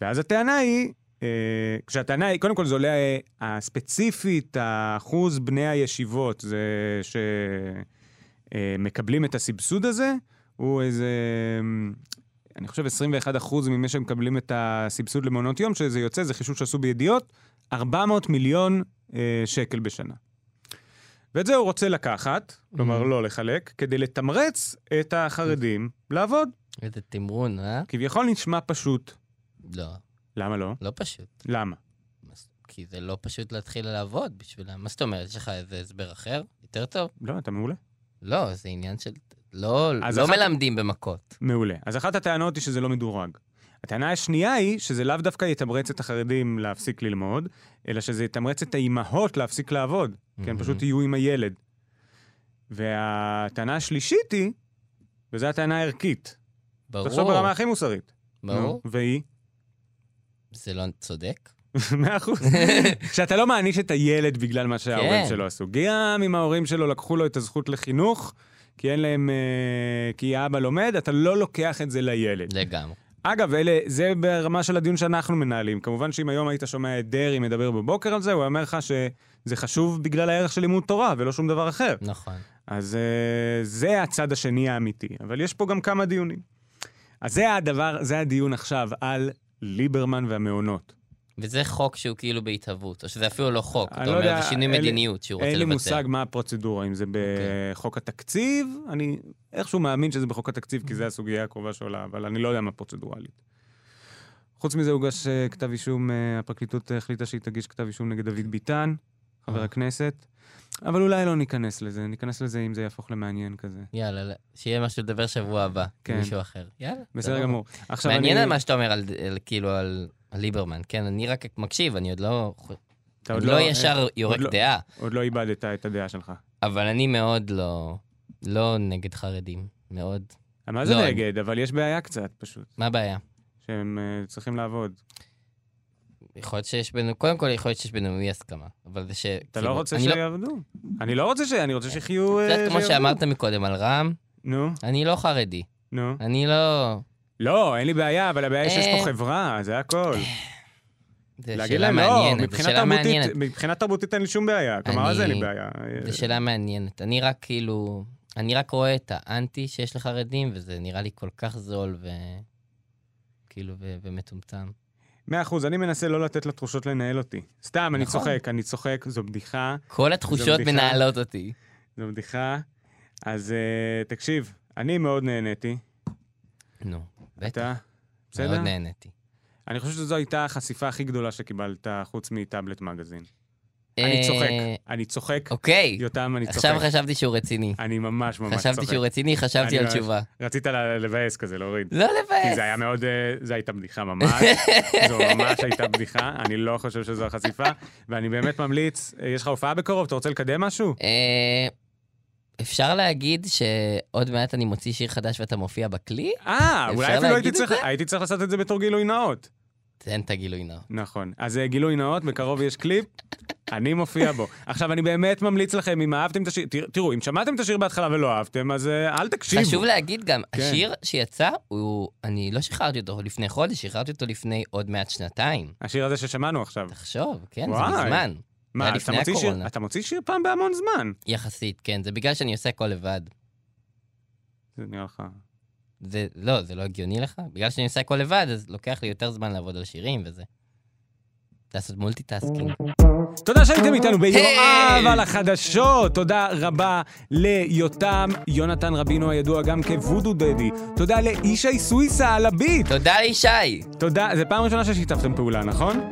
Speaker 2: ואז הטענה היא, אה, כשהטענה היא, קודם כל זה עולה אה, הספציפית, האחוז בני הישיבות, זה שמקבלים את הסבסוד הזה, הוא איזה, אמ, אני חושב 21 אחוז ממי שמקבלים את הסבסוד למעונות יום, שזה יוצא, זה חישוב שעשו בידיעות, 400 מיליון אה, שקל בשנה. ואת זה הוא רוצה לקחת, כלומר
Speaker 6: Mhm.
Speaker 2: לא לחלק, כדי לתמרץ את החרדים לעבוד.
Speaker 6: איזה תמרון, אה?
Speaker 2: כביכול נשמע פשוט.
Speaker 6: לא,
Speaker 2: למה לא?
Speaker 6: לא פשוט.
Speaker 2: למה?
Speaker 6: כי זה לא פשוט להתחיל לעבוד בשבילם. מה זאת אומרת? יש לך איזה הסבר אחר? יותר טוב?
Speaker 2: לא, אתה מעולה.
Speaker 6: לא, זה עניין של... לא,
Speaker 2: אז
Speaker 6: לא
Speaker 2: אחת-
Speaker 6: מלמדים במכות.
Speaker 2: מעולה. אז אחת הטענות היא שזה לא מדורג. הטענה השנייה היא שזה לאו דווקא יתמרץ את החרדים להפסיק ללמוד, אלא שזה יתמרץ את האימהות להפסיק לעבוד, כי הם
Speaker 6: Mhm.
Speaker 2: כן, פשוט יהיו עם הילד. והטענה השלישית היא, וזו הטענה הערכית, תחשוב
Speaker 6: ברור,
Speaker 2: ברמה הכי מוסרית.
Speaker 6: ברור.
Speaker 2: נו, והיא?
Speaker 6: זה לא צודק.
Speaker 2: מאה אחוז. שאתה לא מעניש את הילד בגלל מה שההורים
Speaker 6: כן.
Speaker 2: שלו עשו. גם אם ההורים שלו לקחו לו את הזכות לחינוך, כי אין להם... אה, כי האבא לומד, אתה לא לוקח את זה לילד.
Speaker 6: לגמרי.
Speaker 2: אגב, אלה, זה ברמה של הדיון שאנחנו מנהלים. כמובן שאם היום היית שומע את דרעי מדבר בבוקר על זה, הוא היה אומר לך שזה חשוב בגלל הערך של לימוד תורה ולא שום דבר אחר.
Speaker 6: נכון.
Speaker 2: אז אה, זה הצד השני האמיתי, אבל יש פה גם כמה דיונים. אז זה הדבר, זה הדיון עכשיו על ליברמן והמעונות.
Speaker 6: וזה חוק שהוא כאילו בהתהוות, או שזה אפילו לא חוק,
Speaker 2: אני
Speaker 6: אתה
Speaker 2: לא
Speaker 6: אומר,
Speaker 2: יודע,
Speaker 6: זה שינוי
Speaker 2: אין לי-
Speaker 6: מדיניות שהוא רוצה
Speaker 2: אין לי מושג
Speaker 6: לבצע.
Speaker 2: מה הפרוצדורה, אם זה בחוק התקציב, אני איכשהו מאמין שזה בחוק התקציב, כי זו הסוגיה הקרובה שעולה, אבל אני לא יודע מה הפרוצדורלית. חוץ מזה הוגש אה, כתב אישום, אה, הפרקליטות החליטה שהיא תגיש כתב אישום נגד דוד ביטן, חבר
Speaker 6: אה.
Speaker 2: הכנסת, אבל אולי לא ניכנס לזה, ניכנס לזה אם זה יהפוך למעניין כזה.
Speaker 6: יאללה, לא- שיהיה משהו לדבר שבוע הבא,
Speaker 2: כן.
Speaker 6: מישהו אחר. יאללה.
Speaker 2: בסדר
Speaker 6: סבבה.
Speaker 2: גמור. עכשיו
Speaker 6: לא מעניין
Speaker 2: אני-
Speaker 6: על מה שאתה אומר, על- על- כאילו על על ליברמן, כן, אני רק מקשיב, אני עוד לא...
Speaker 2: אתה עוד
Speaker 6: עוד לא ישר
Speaker 2: עוד
Speaker 6: יורק
Speaker 2: לא-
Speaker 6: דעה,
Speaker 2: עוד לא איבדת את הדעה שלך.
Speaker 6: אבל אני מאוד לא... לא נגד חרדים, מאוד.
Speaker 2: מה זה
Speaker 6: לא, אני-
Speaker 2: נגד? אבל יש בעיה קצת פשוט,
Speaker 6: מה הבעיה?
Speaker 2: שהם אה, צריכים לעבוד.
Speaker 6: יכול להיות שיש בינינו, קודם כל יכול להיות שיש בינינו אי הסכמה, אבל זה ש... כאילו,
Speaker 2: אתה לא רוצה שיעבדו. אני לא רוצה ש... אני רוצה שיחיו... אה,
Speaker 6: קצת כמו
Speaker 2: שיעבדו.
Speaker 6: שאמרת מקודם על רע"מ,
Speaker 2: נו,
Speaker 6: אני לא חרדי,
Speaker 2: נו.
Speaker 6: אני לא...
Speaker 2: לא, אין לי בעיה, אבל הבעיה היא שיש פה
Speaker 6: אה.
Speaker 2: חברה, זה הכל.
Speaker 6: זה
Speaker 2: להגיד
Speaker 6: שאלה
Speaker 2: להם, לא,
Speaker 6: מעניינת, זו
Speaker 2: מבחינה
Speaker 6: שאלה מעניינת.
Speaker 2: תרבותית- מבחינה תרבותית אין לי שום בעיה. כלומר,
Speaker 6: אני-
Speaker 2: אז אין לי בעיה. אה,
Speaker 6: זו שאלה מעניינת. אני רק כאילו, אני רק רואה את האנטי שיש לחרדים, וזה נראה לי כל כך זול ו... כאילו, ו- ומטומטם.
Speaker 2: מאה אחוז, אני מנסה לא לתת לתחושות לנהל אותי. סתם, אני
Speaker 6: נכון.
Speaker 2: צוחק, אני צוחק, זו בדיחה,
Speaker 6: כל התחושות
Speaker 2: בדיחה.
Speaker 6: מנהלות אותי.
Speaker 2: זו בדיחה. אז אה, תקשיב, אני מאוד נהניתי.
Speaker 6: נו, בטח,
Speaker 2: אתה?
Speaker 6: מאוד
Speaker 2: בסדר?
Speaker 6: נהניתי.
Speaker 2: אני חושב שזו הייתה החשיפה הכי גדולה שקיבלת, חוץ מטאבלט מגזין. אני
Speaker 6: אה,
Speaker 2: צוחק, אני צוחק.
Speaker 6: אוקיי,
Speaker 2: יותם, אני צוחק.
Speaker 6: עכשיו חשבתי שהוא רציני.
Speaker 2: אני ממש ממש צוחק.
Speaker 6: חשבתי שהוא רציני,
Speaker 2: אני
Speaker 6: חשבתי על
Speaker 2: ממש-
Speaker 6: תשובה.
Speaker 2: רצית ל- לבאס כזה, להוריד.
Speaker 6: לא
Speaker 2: כי
Speaker 6: לבאס.
Speaker 2: זה היה מאוד, אה, זה הייתה בדיחה ממש, זו ממש הייתה בדיחה, אני לא חושב שזו החשיפה, ואני באמת ממליץ, אה, יש לך הופעה בקרוב, אתה רוצה לקדם משהו?
Speaker 6: אה, אפשר להגיד שעוד מעט אני מוציא שיר חדש ואתה מופיע בכלי?
Speaker 2: אה,
Speaker 6: אפשר
Speaker 2: אולי אפילו הייתי
Speaker 6: להגיד את
Speaker 2: צריך,
Speaker 6: זה?
Speaker 2: הייתי צריך לעשות את זה בתור גילוי נאות.
Speaker 6: תן את הגילוי נאות.
Speaker 2: נכון. אז אה, גילוי נאות, בקרוב יש קליפ, אני מופיע בו. עכשיו, אני באמת ממליץ לכם, אם אהבתם את השיר, תרא- תראו, אם שמעתם את השיר בהתחלה ולא אהבתם, אז אה, אל תקשיבו.
Speaker 6: חשוב להגיד גם,
Speaker 2: כן.
Speaker 6: השיר שיצא, הוא... אני לא שחררתי אותו לפני חודש, שחררתי אותו לפני עוד מעט שנתיים.
Speaker 2: השיר הזה ששמענו עכשיו.
Speaker 6: תחשוב, כן,
Speaker 2: וואי.
Speaker 6: זה מזמן.
Speaker 2: מה,
Speaker 6: היה
Speaker 2: אז אתה
Speaker 6: לפני
Speaker 2: מוציא שיר,
Speaker 6: הקורונה.
Speaker 2: אתה מוציא שיר פעם בהמון זמן.
Speaker 6: יחסית, כן, זה בגלל שאני עושה הכל לבד.
Speaker 2: זה נראה לך...
Speaker 6: זה, לא, זה לא הגיוני לך? בגלל שאני עושה הכל לבד, אז לוקח לי יותר זמן לעבוד על שירים וזה. לעשות מולטיטאסקינג.
Speaker 2: אוקיי. תודה שהייתם איתנו ביואב
Speaker 6: היי!
Speaker 2: על החדשות. תודה רבה ליותם, יונתן רבינו הידוע גם כוודו דדי. תודה לישי סוויסה על הביט.
Speaker 6: תודה לישי!
Speaker 2: תודה, זו פעם ראשונה ששיתפתם פעולה, נכון?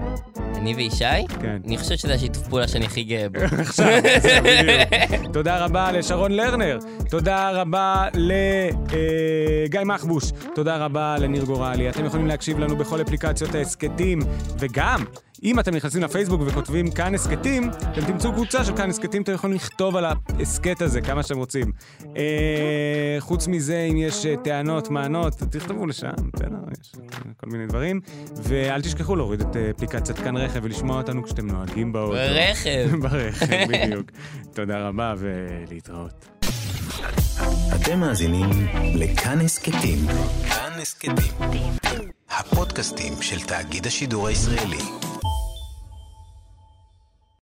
Speaker 6: אני וישי?
Speaker 2: כן.
Speaker 6: אני חושב שזה השיתוף פעולה שאני הכי גאה בו.
Speaker 2: עכשיו, זה בדיוק. תודה רבה לשרון לרנר, תודה רבה לגיא מחבוש, תודה רבה לניר גורלי. אתם יכולים להקשיב לנו בכל אפליקציות ההסכתים, וגם, אם אתם נכנסים לפייסבוק וכותבים כאן הסכתים, אתם תמצאו קבוצה של כאן הסכתים, אתם יכולים לכתוב על ההסכת הזה כמה שאתם רוצים. אה, חוץ מזה, אם יש אה, טענות, מענות, תכתבו לשם, בסדר, יש כל מיני דברים. ואל תשכחו להוריד את אה, אפליקציית כאן רכב ולשמוע אותנו כשאתם נוהגים באוטו.
Speaker 6: ברכב.
Speaker 2: ברכב, בדיוק. תודה רבה ולהתראות.
Speaker 1: אתם מאזינים לכאן הסכתים. כאן הסכתים. הפודקאסטים של תאגיד השידור הישראלי.